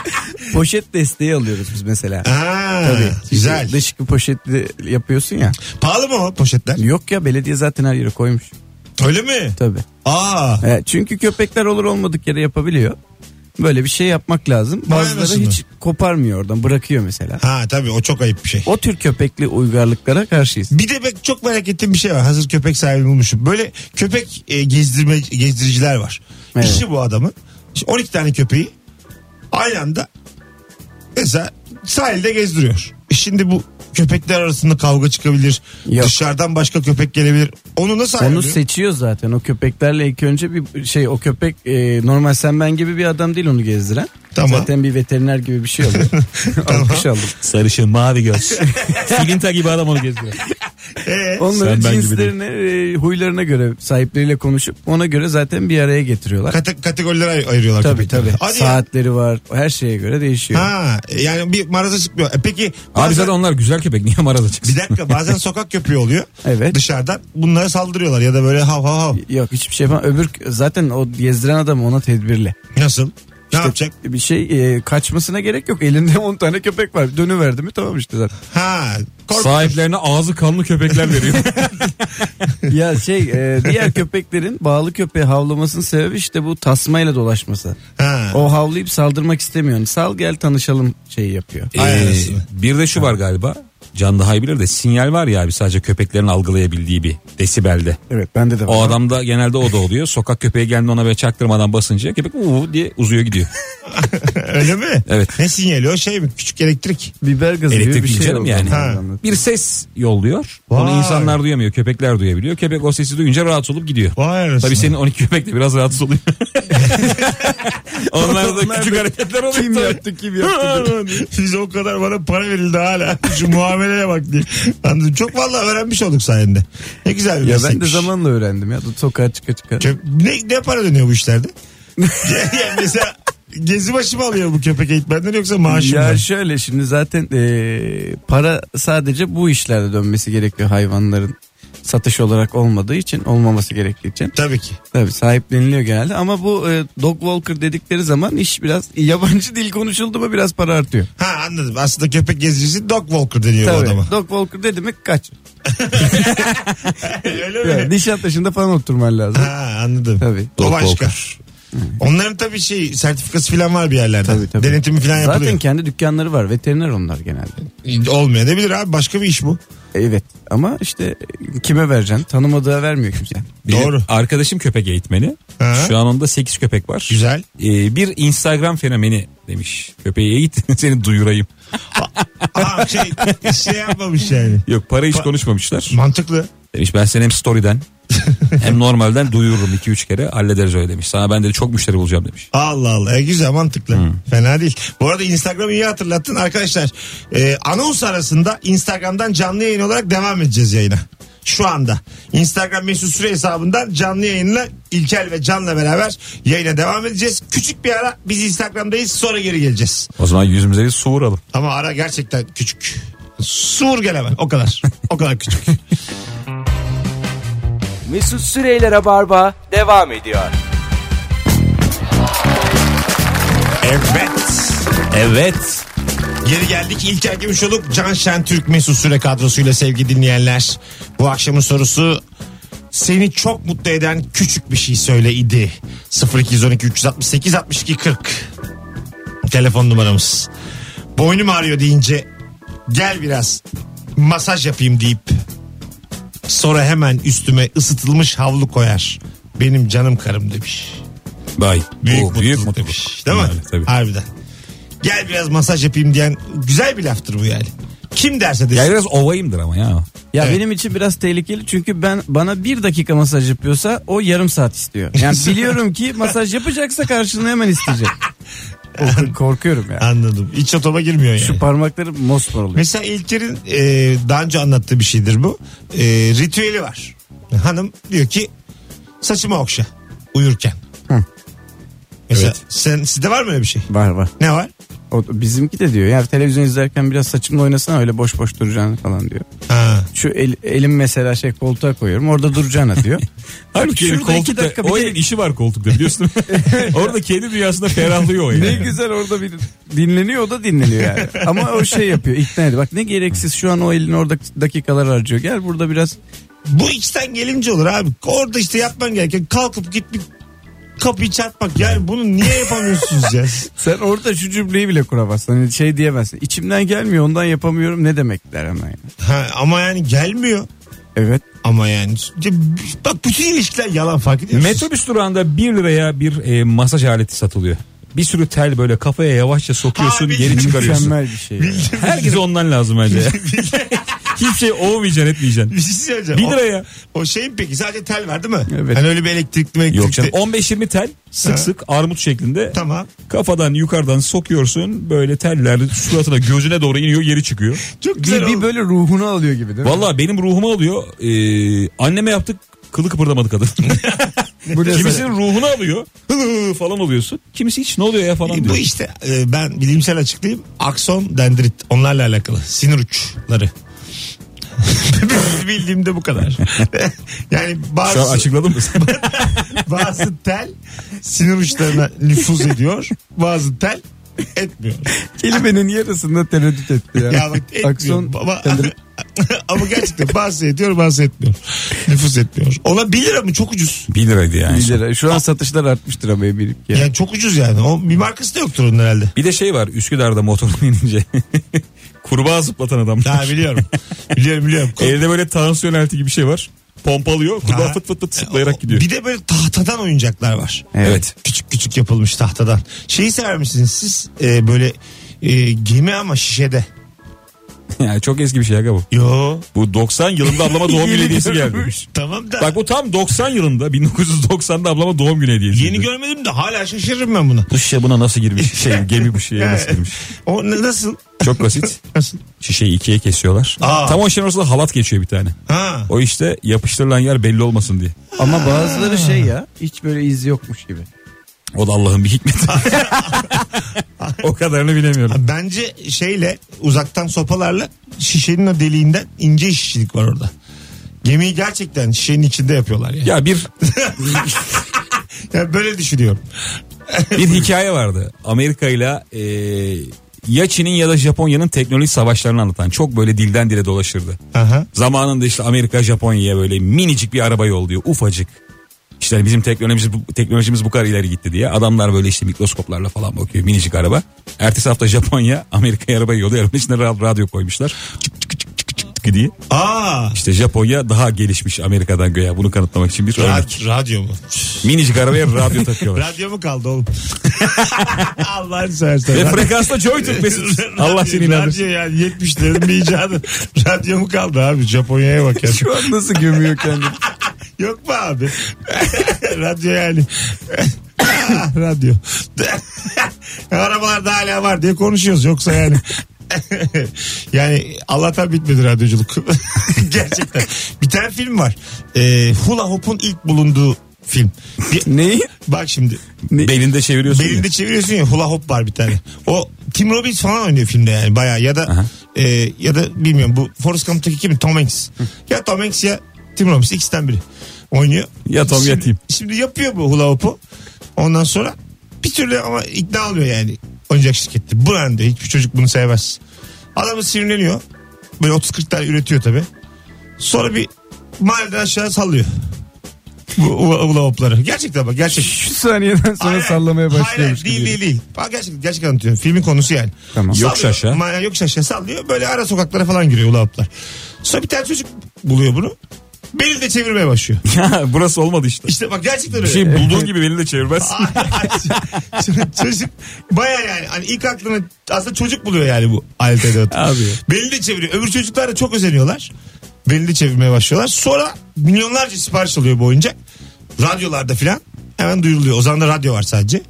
poşet desteği alıyoruz biz mesela. Aa, Tabii. Çünkü Güzel. Dışkı poşetli yapıyorsun ya. Pahalı mı o poşetler? Yok ya belediye zaten her yere koymuş. Öyle mi? Tabii. Aa. E, çünkü köpekler olur olmadık yere yapabiliyor. Böyle bir şey yapmak lazım. Vay Bazıları anasını. hiç koparmıyor oradan bırakıyor mesela. Ha tabii o çok ayıp bir şey. O tür köpekli uygarlıklara karşıyız. Bir de ben çok merak ettiğim bir şey var. Hazır köpek sahibi bulmuşum. Böyle köpek e, gezdirme gezdiriciler var. Evet. İşi bu adamın. İşte 12 tane köpeği aynı anda mesela sahilde gezdiriyor. E Şimdi bu köpekler arasında kavga çıkabilir. Yok. Dışarıdan başka köpek gelebilir. Onu nasıl Onu ayarlıyor? seçiyor zaten o köpeklerle ilk önce bir şey o köpek e, normal sen ben gibi bir adam değil onu gezdiren. Tamam. Zaten bir veteriner gibi bir şey *laughs* *laughs* oluyor. Alkış aldım. Sarışın mavi göz. Filinta gibi adam onu gezdiriyor. Ee, Onların Sen ben gibi cinslerine e, huylarına göre sahipleriyle konuşup ona göre zaten bir araya getiriyorlar. kate- kategorilere ay- ayırıyorlar Tabii köpekleri. tabii. Hadi ya. Saatleri var. Her şeye göre değişiyor. Ha, yani bir maraza çıkmıyor. E peki Abi bazen- zaten onlar güzel köpek. Niye maraza Bir çıksın? dakika bazen sokak köpeği oluyor. Evet. Dışarıdan bunlara saldırıyorlar ya da böyle hav hav hav. Yok hiçbir şey yapan öbür zaten o gezdiren adam ona tedbirli. Nasıl? Ne İşte yapacak? Bir şey e, kaçmasına gerek yok. Elinde 10 tane köpek var. Dönüverdi mi tamam işte zaten. Ha. Kork- Sahiplerine ağzı kanlı köpekler *laughs* veriyor. ya şey e, diğer köpeklerin bağlı köpeği havlamasının sebebi işte bu tasmayla dolaşması. ha. O havlayıp saldırmak istemiyor. Yani sal gel tanışalım şeyi yapıyor. Aynen Ee, öyle. bir de şu var galiba. Can daha iyi bilir de sinyal var ya abi sadece köpeklerin algılayabildiği bir desibelde. Evet bende de var. O adamda genelde o da oluyor. Sokak köpeği geldi ona böyle çaktırmadan basınca köpek uuu diye uzuyor gidiyor. *laughs* *laughs* Öyle mi? Evet. Ne sinyali o şey mi? Küçük elektrik. Biber gazı gibi Elektrik bir şey canım oldu. yani. Ha. Bir ses yolluyor. Vay. Onu insanlar duyamıyor. Köpekler duyabiliyor. Köpek o sesi duyunca rahatsız olup gidiyor. Vay arasına. *laughs* Tabii senin 12 köpek de biraz rahatsız oluyor. Onlar da Onlar küçük da hareketler oluyor. Kim tabii. yaptı kim *laughs* yaptı. Size o kadar bana para verildi hala. *laughs* Şu muameleye bak diye. Anladım. Çok vallahi öğrenmiş olduk sayende. Ne güzel bir ya ben de meslekmiş. zamanla öğrendim ya. Sokağa çıka çıka. Köp- ne, ne para dönüyor bu işlerde? *laughs* yani mesela gezi başı mı alıyor bu köpek eğitmenden yoksa maaşı mı? Ya var? şöyle şimdi zaten e, para sadece bu işlerde dönmesi gerekiyor hayvanların. satış olarak olmadığı için olmaması gerektiği için Tabii ki. tabii sahipleniliyor genelde ama bu e, dog walker dedikleri zaman iş biraz yabancı dil konuşuldu mu biraz para artıyor. Ha anladım. Aslında köpek gezicisi dog walker deniyor bu Tabii. *laughs* adama. Dog walker dedi mi kaç. Öyle mi? Yani Nişantaşı'nda falan oturman lazım. Ha anladım. Tabii. O Dog başka. walker. Onların tabii şey sertifikası falan var bir yerlerde. Tabii, tabii. Denetimi falan yapılıyor. Zaten kendi dükkanları var. Veteriner onlar genelde. Olmayabilir abi başka bir iş bu. Evet ama işte kime vereceksin? Tanımadığı vermiyor kimse. Benim Doğru. Arkadaşım köpek eğitmeni. Ha. Şu an onda 8 köpek var. *laughs* Güzel. Ee, bir Instagram fenomeni demiş. Köpeği eğit *laughs* seni duyurayım. Aa, şey, şey yapmamış yani. Yok para hiç konuşmamışlar. Mantıklı. Demiş ben seni hem *laughs* story'den hem normalden duyururum 2-3 kere hallederiz öyle demiş. Sana ben de çok müşteri bulacağım demiş. Allah Allah. E, güzel mantıklı. Fena değil. Bu arada Instagram'ı iyi hatırlattın arkadaşlar. E, anons arasında Instagram'dan canlı yayın olarak devam edeceğiz yayına. Şu anda Instagram mesut süre hesabından canlı yayınla İlkel ve Can'la beraber yayına devam edeceğiz. Küçük bir ara biz Instagram'dayız sonra geri geleceğiz. O zaman yüzümüze bir su vuralım. Ama ara gerçekten küçük. Sur gelemem o kadar. O kadar küçük. *laughs* Mesut Süreyler'e barba devam ediyor. evet. Evet. Geri geldik. İlker Gümüşoluk, Can Şentürk, Mesut Süre kadrosuyla sevgili dinleyenler. Bu akşamın sorusu seni çok mutlu eden küçük bir şey söyle idi. 0212 368 62 40 telefon numaramız. Boynum ağrıyor deyince gel biraz masaj yapayım deyip sonra hemen üstüme ısıtılmış havlu koyar. Benim canım karım demiş. Bay. Büyük Bu mutluluk, Oh, büyük mutluluk. demiş. Değil mi? Yani tabii. Harbiden. Gel biraz masaj yapayım diyen güzel bir laftır bu yani. Kim derse desin. Ya biraz ovayımdır ama ya. Ya Evet. benim için biraz tehlikeli çünkü ben bana bir dakika masaj yapıyorsa o yarım saat istiyor. *laughs* Yani biliyorum ki masaj yapacaksa karşılığını hemen isteyecek. O- Korkuyorum ya. Anladım. İç otoma girmiyor yani. Şu parmakları mosmor oluyor. Mesela İlker'in e, daha önce anlattığı bir şeydir bu. E, ritüeli var. Hanım diyor ki saçımı okşa uyurken. Hı. Mesela Evet. sen sizde var mı öyle bir şey? Var var. Ne var? O, bizimki de diyor. Yani televizyon izlerken biraz saçımla oynasana öyle boş boş duracağını falan diyor. Ha. Şu el, elim mesela şey koltuğa koyuyorum orada duracağına *laughs* diyor. Halbuki Şurada herif iki koltukta, dakika bir o de- herifin işi var koltukta *laughs* biliyorsun. Orada kendi dünyasında ferahlıyor o yani. Ne güzel orada bir dinleniyor o da dinleniyor *laughs* yani. Ama o şey yapıyor ikna ediyor. Bak ne gereksiz şu an o elini orada dakikalar harcıyor. Gel burada biraz Bu içten gelince olur abi. Orada işte yapman gereken kalkıp git bir kapıyı çarpmak. Yani bunu niye yapamıyorsunuz *laughs* ya? sen orada şu cümleyi bile kuramazsın. Hani şey diyemezsin. İçimden gelmiyor ondan yapamıyorum ne demek der hemen. yani. Ha, ama yani gelmiyor. Evet. Ama yani Ya b- bak bütün ilişkiler yalan fark ediyor musun? Metrobüs durağında 1 liraya bir e, masaj aleti satılıyor. Bir sürü tel böyle kafaya yavaşça sokuyorsun Abi, geri çıkarıyorsun. Mükemmel bir şey. ya. Herkes ondan lazım bence. *laughs* *laughs* ya. Hiçbir şey olmayacaksın etmeyeceksin. *laughs* Bir şey söyleyeceğim. Bir O- liraya. O, şeyin peki sadece tel var değil mi? Evet. Hani öyle bir elektrikli elektrikli. Yok canım 15-20 tel Ha. sık sık armut şeklinde Tamam. kafadan yukarıdan sokuyorsun böyle teller suratına gözüne doğru iniyor geri çıkıyor. Çok güzel Bir, bir oldu. böyle ruhunu alıyor gibi değil mi? Vallahi benim ruhuma alıyor Ee, anneme yaptık kılı *laughs* kıpırdamadı kadın. Bu ne Kimisinin ruhunu alıyor hı hı falan oluyorsun. Kimisi hiç ne oluyor ya falan Bu diyor. işte e, ben bilimsel açıklayayım. Akson dendrit onlarla alakalı. Sinir uçları. *laughs* Bildiğim de bu kadar. *laughs* yani Şu an bazı, açıkladın mı sen? bazı tel sinir uçlarına nüfuz ediyor. Bazı tel etmiyor. Kelimenin yarısında tereddüt etti ya. *laughs* *laughs* Ya bak etmiyor. Akson Baba- tereddüt- *laughs* Ama gerçekten bazı ediyor bazı etmiyor. Nüfuz etmiyor. Ona 1 lira mı çok ucuz. 1 liraydı yani. Bir lira. Şu an satışlar artmıştır ama eminim ki. Yani çok ucuz yani. O bir markası da yoktur onun herhalde. Bir de şey var Üsküdar'da motorla *laughs* inince kurbağa zıplatan adam. Ha *laughs* biliyorum. biliyorum biliyorum. Ko- Elde böyle tansiyon aleti gibi bir şey var. Pompalıyor kurbağa Ha. fıt fıt fıt zıplayarak gidiyor. Bir de böyle tahtadan oyuncaklar var. Evet. Küçük küçük yapılmış tahtadan. Şeyi sever misiniz siz e, böyle e, gemi ama şişede. *laughs* Yani çok eski bir şey aga bu. Yo Bu 90 yılında ablama doğum günü Yeni hediyesi geldi. görmüş. tamam da Bak bu tam 90 yılında 1990'da ablama doğum günü hediyesi. yeni görmedim de hala şaşırırım ben buna. Bu şişe buna nasıl girmiş? Şey gemi bu şişeye nasıl girmiş? O ne- nasıl? Çok basit. Nasıl? Şişeyi ikiye kesiyorlar. Aa. Tam o şişenin ortasında halat geçiyor bir tane. Ha. O işte yapıştırılan yer belli olmasın diye. Ama bazıları şey ya hiç böyle iz yokmuş gibi. O da Allah'ın bir hikmeti. o kadarını bilemiyorum. Bence şeyle uzaktan sopalarla şişenin o deliğinden ince şişilik var orada. Gemiyi gerçekten şişenin içinde yapıyorlar yani. Ya bir Yani böyle düşünüyorum. bir hikaye vardı. Amerika ile e, ya Çin'in ya da Japonya'nın teknoloji savaşlarını anlatan. Çok böyle dilden dile dolaşırdı. Aha. Zamanında işte Amerika Japonya'ya böyle minicik bir araba yolluyor ufacık. İşte hani bizim teknolojimiz, bu- teknolojimiz bu kadar ileri gitti diye adamlar böyle işte mikroskoplarla falan bakıyor minicik araba. Ertesi hafta Japonya Amerika'ya araba yolluyor. Arabanın içine ra- radyo koymuşlar. Çık çık çık çık çık çık diye. Aa. İşte Japonya daha gelişmiş Amerika'dan göya bunu kanıtlamak için bir örnek. Rad- radyo mu? Minicik arabaya radyo takıyorlar. radyo mu kaldı oğlum? Allah'ını seversen. Ve *laughs* Radyo- frekansta *laughs* Joytürk Mesut. Allah seni inandırsın. Radyo yani 70'lerin bir icadı. radyo mu kaldı abi? Japonya'ya bak *laughs* ya. Şu an nasıl gömüyor kendini? Yok mu abi? *laughs* radyo yani. *laughs* radyo. *laughs* Arabalarda hala var diye konuşuyoruz. Yoksa yani. *laughs* yani Allah'tan bitmedi radyoculuk. *laughs* Gerçekten. Bir tane film var. Ee, Hula Hoop'un ilk bulunduğu film. Bir- Neyi? bak şimdi. Belinde çeviriyorsun. ya. Belinde çeviriyorsun ya hula hop var bir tane. O Tim Robbins falan oynuyor filmde yani bayağı ya da Aha. e, ya da bilmiyorum bu Forrest Gump'taki kim Tom Hanks. ya Tom Hanks ya Tim Robbins ikisinden biri oynuyor. Ya Tom şimdi, ya Tim. Şimdi yapıyor bu hula hopu. Ondan sonra bir türlü ama ikna olmuyor yani oyuncak şirketi. Bu anda hiçbir çocuk bunu sevmez. Adamı sinirleniyor. Böyle 30-40 tane üretiyor tabi. Sonra bir mahalleden aşağı sallıyor. Bu hula hula hopları. Gerçekten bak gerçek. Şu saniyeden sonra Hayır, sallamaya başlıyormuş Hayır gibi. değil değil değil. Bak gerçekten gerçek anlatıyorum. Filmin konusu yani. Tamam. Yok Sallıyor. şaşa. Ma- yok şaşa sallıyor. Böyle ara sokaklara falan giriyor ulaplar. Sonra bir tane çocuk buluyor bunu. Beni de çevirmeye başlıyor. *laughs* *laughs* Ya burası olmadı işte. İşte bak gerçekten Bir öyle. şey bulduğun gibi *laughs* belinde çevirmez. Çocuk- çocuk baya yani hani ilk aklına aslında çocuk buluyor yani bu alet edevatı. Abi. Belini de çeviriyor. Öbür çocuklar da çok özeniyorlar. Belini de çevirmeye başlıyorlar. Sonra milyonlarca sipariş alıyor bu oyuncak. Radyolarda filan hemen duyuruluyor. O zaman da radyo var sadece.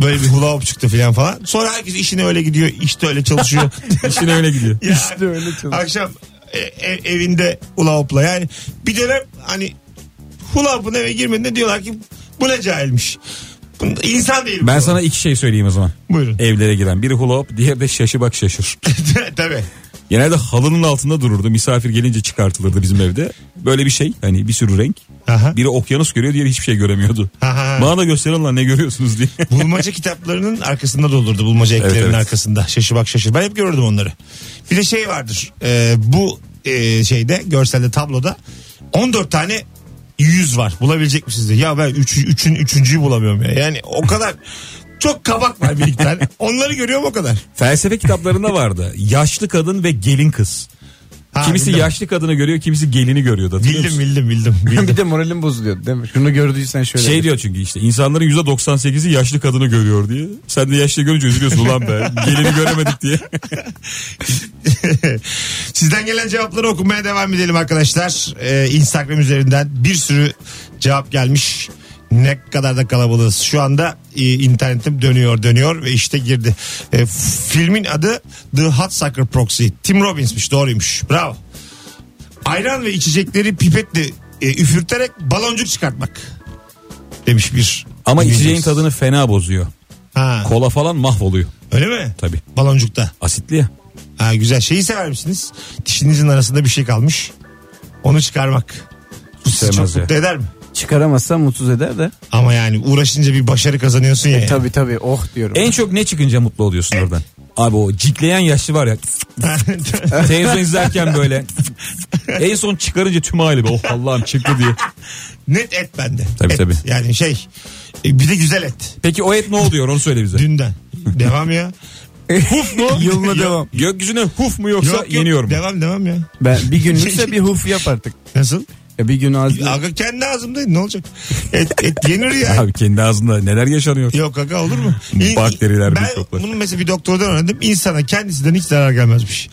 Böyle bir hula hop çıktı filan falan. Sonra herkes işine öyle gidiyor. işte öyle çalışıyor. İşin öyle gidiyor. Ya, İşte öyle çalışıyor. Akşam e- e- evinde hula hopla yani. Bir dönem hani hula hopun eve girmediğinde diyorlar ki bu ne cahilmiş. Bunda insan değil. bu. Ben sana iki şey söyleyeyim o zaman. Buyurun. Evlere giren. Biri hula hop, diğeri de şaşı bak şaşır. E- *laughs* Tabii. Genelde halının altında dururdu. Misafir gelince çıkartılırdı bizim evde. Böyle bir şey. Hani bir sürü renk. Aha. Biri okyanus görüyor, diğeri hiçbir şey göremiyordu. Aha. Bana da gösterin lan ne görüyorsunuz diye. Bulmaca kitaplarının arkasında da olurdu. Bulmaca eklerinin evet. arkasında. Şaşı bak şaşır. Ben hep görürdüm onları. Bir de şey vardır. Ee, bu e, şeyde görselde tabloda 14 tane yüz var. Bulabilecek misiniz diye. Ya ben 3'ün üç, üçün- üçüncüyü bulamıyorum ya. Yani o *laughs* kadar çok kabak var bir iki tane. Onları görüyorum o kadar. Felsefe kitaplarında *laughs* vardı. Yaşlı kadın ve gelin kız. Ha, kimisi bildim. yaşlı kadını görüyor, kimisi gelini görüyordu. hatırlıyor Bildim musun? bildim *laughs* bildim. bildim. bir de moralim bozuluyor değil mi? Şunu gördüysen şöyle. Şey diyor çünkü işte insanların %98'i yaşlı kadını görüyor diye. Sen de yaşlı görünce üzülüyorsun ulan be. Gelini göremedik diye. Sizden gelen cevapları okumaya devam edelim arkadaşlar. Ee, Instagram üzerinden bir sürü cevap gelmiş. Ne kadar da kalabalığız. Şu anda e, internetim dönüyor dönüyor ve işte girdi. E, filmin adı The Hot Sucker Proxy. Tim Robbins'miş doğruymuş. Bravo. Ayran ve içecekleri pipetle e, üfürterek baloncuk çıkartmak. Demiş bir. *laughs* Ama dinleyicimiz. içeceğin tadını fena bozuyor. Ha, Kola falan mahvoluyor. öyle mi? Tabii. Baloncukta. Asitli ya. Ha, güzel şeyi sever misiniz? Dişinizin arasında bir şey kalmış. Onu çıkarmak. Bu sizi Sevmez çok ya. mutlu eder mi? Çıkaramazsan mutsuz eder de. Ama yani uğraşınca bir başarı kazanıyorsun E, ya. Tabii tabii oh diyorum. En çok ne çıkınca mutlu oluyorsun oradan? Abi o cikleyen yaşlı var ya. *laughs* Televizyon izlerken böyle. en son çıkarınca tüm aile be. Oh Allah'ım çıktı diye. *laughs* Net et bende. Tabii, et. tabii. Yani şey e, bir de güzel et. Peki o et ne oluyor onu söyle bize. *laughs* Dünden. Devam ya. huf mu? Yılına devam. Gökyüzüne huf mu yoksa Yok, yok. yeniyor mu? Devam devam ya. Ben bir *laughs* günlükse bir huf yap artık. Nasıl? Ya bir gün az Aga kendi ağzımda ne olacak? Et, et yenir ya. Abi kendi ağzında neler yaşanıyor? Yok aga olur *laughs* mu? Bakteriler, ben mikroplar. Bunu mesela bir doktordan öğrendim. İnsana kendisinden hiç zarar *laughs* gelmezmiş.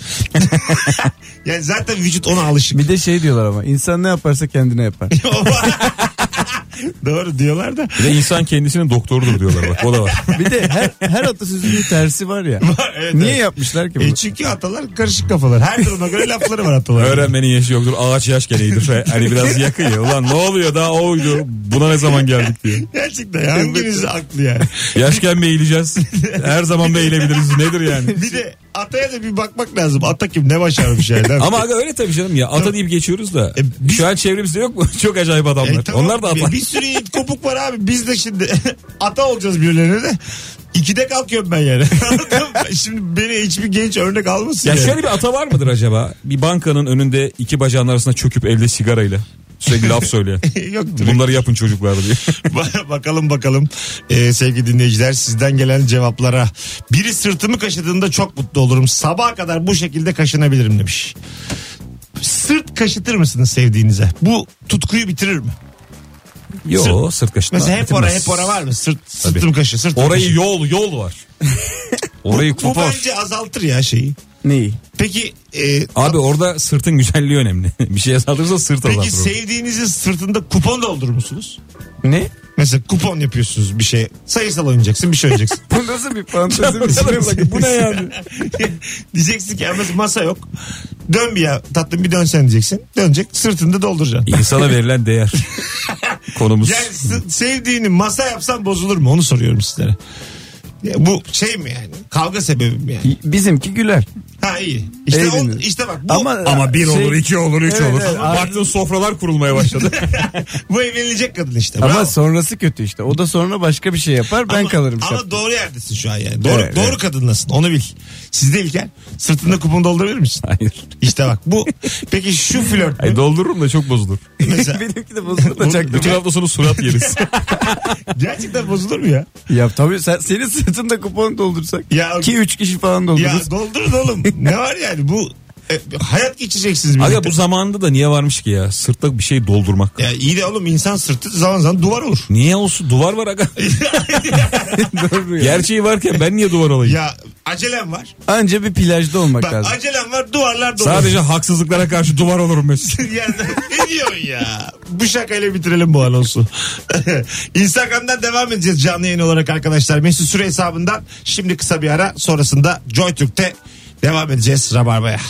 *laughs* yani zaten vücut ona alışık. Bir de şey diyorlar ama insan ne yaparsa kendine yapar. *laughs* Doğru diyorlar *laughs* da. Bir de insan kendisinin doktorudur diyorlar bak. O da var. Bir de her, her atasözünün tersi var *laughs* ya. Evet, Niye evet. yapmışlar ki bunu? E çünkü atalar karışık kafalar. Her duruma göre lafları var atalar. Öğrenmenin yaşı yoktur. Ağaç yaş gereğidir. Hani biraz yakın ya. Ulan ne oluyor daha oydu. Buna ne zaman geldik diye. Gerçekten hanginiz aklı yani. Yaşken mi eğileceğiz? Her zaman mı eğilebiliriz? Nedir yani? Bir de Ataya da bir bakmak lazım. Ata kim ne başarmış yani. değil mi? *laughs* Ama aga öyle tabii canım ya. Ata deyip geçiyoruz da. E, biz- Şu an çevremizde yok mu? *laughs* Çok acayip adamlar. E, tamam. Onlar da ata. Bir, bir sürü yiğit kopuk var abi. Biz de şimdi *laughs* ata olacağız birilerine de. İkide kalkıyorum ben yani. *laughs* Anladın mı? şimdi beni hiçbir genç örnek almasın. Ya yani. şöyle bir ata var mıdır acaba? Bir bankanın önünde iki bacağın arasında çöküp elde sigarayla. Sürekli laf söylüyor. *laughs* Yoktur. Bunları yapın çocuklar diye. Ba- bakalım bakalım Ee, sevgili dinleyiciler sizden gelen cevaplara. Biri sırtımı kaşıdığında çok mutlu olurum. Sabaha kadar bu şekilde kaşınabilirim demiş. Sırt kaşıtır mısınız sevdiğinize? Bu tutkuyu bitirir mi? *laughs* Yo sırt kaşıtma. Mesela hep ora bitirmez. hep ora var mı? Sırt, sırtım kaşı sırtım Orayı kaşı. yol yol var. *laughs* Orayı Bu kupor. bence azaltır ya şeyi. Neyi? Peki e, Abi orada sırtın güzelliği önemli. *laughs* bir şey yazarsa sırt peki azaltır. onu. sevdiğinizin sırtında kupon doldurur musunuz? Ne? Mesela kupon yapıyorsunuz bir şey. Sayısal oynayacaksın bir şey oynayacaksın. Bu nasıl bir fantezi bir Bana şey? bak, Bu ne yani? *laughs* diyeceksin ki "Yalnız masa yok. Dön bir ya tatlım bir dönsen diyeceksin. Dönecek sırtında dolduracaksın. İnsana *laughs* verilen değer. Konumuz. Yani s- sevdiğini masa yapsan bozulur mu onu soruyorum sizlere. Ya bu şey mi yani? Kavga sebebi mi yani? Bizimki güler. Ha iyi. İşte, on, Eğlenir. işte bak bu, Ama bir olur, iki olur, üç Evet, olur. evet, abi. Baktın sofralar kurulmaya başladı. bu evlenilecek kadın işte. Ama Bravo. sonrası kötü işte. O da sonra başka bir şey yapar. Ben Ama- kalırım. Ama şapkada. doğru yerdesin şu an yani. Doğru, Evet, doğru evet. kadınlasın onu bil. Sizde İlker sırtında kupon doldurabilir misin? *laughs* Hayır. İşte bak bu. Peki şu flört mü? Ay doldururum da çok bozulur. *laughs* Mesela, Benimki de bozuldu da *laughs* çaktı. Bütün hafta sonu surat yeriz. gerçekten bozulur mu ya? Ya tabii sen, senin sırtında kupon doldursak. Ya- ki 3 kişi falan Ya doldururuz. doldurun oğlum. ne var yani bu e, hayat geçeceksiniz birlikte. *laughs* Aga bu zamanda da niye varmış ki ya? Sırtta bir şey doldurmak. Ya iyi de oğlum insan sırtı zaman zaman duvar olur. Niye olsun? Duvar var aga. *laughs* Doğru ya. Gerçeği varken ben niye duvar olayım? Ya acelem var. Anca bir plajda olmak Bak lazım. acelem var duvarlar dolu. *laughs* Sadece haksızlıklara karşı duvar olurum Mesut. yani ne diyorsun ya? Bu şakayla bitirelim bu anonsu. *laughs* Instagram'dan devam edeceğiz canlı yayın olarak arkadaşlar. Mesut Süre hesabından şimdi kısa bir ara sonrasında JoyTürk'te devam edeceğiz Rabarba'ya.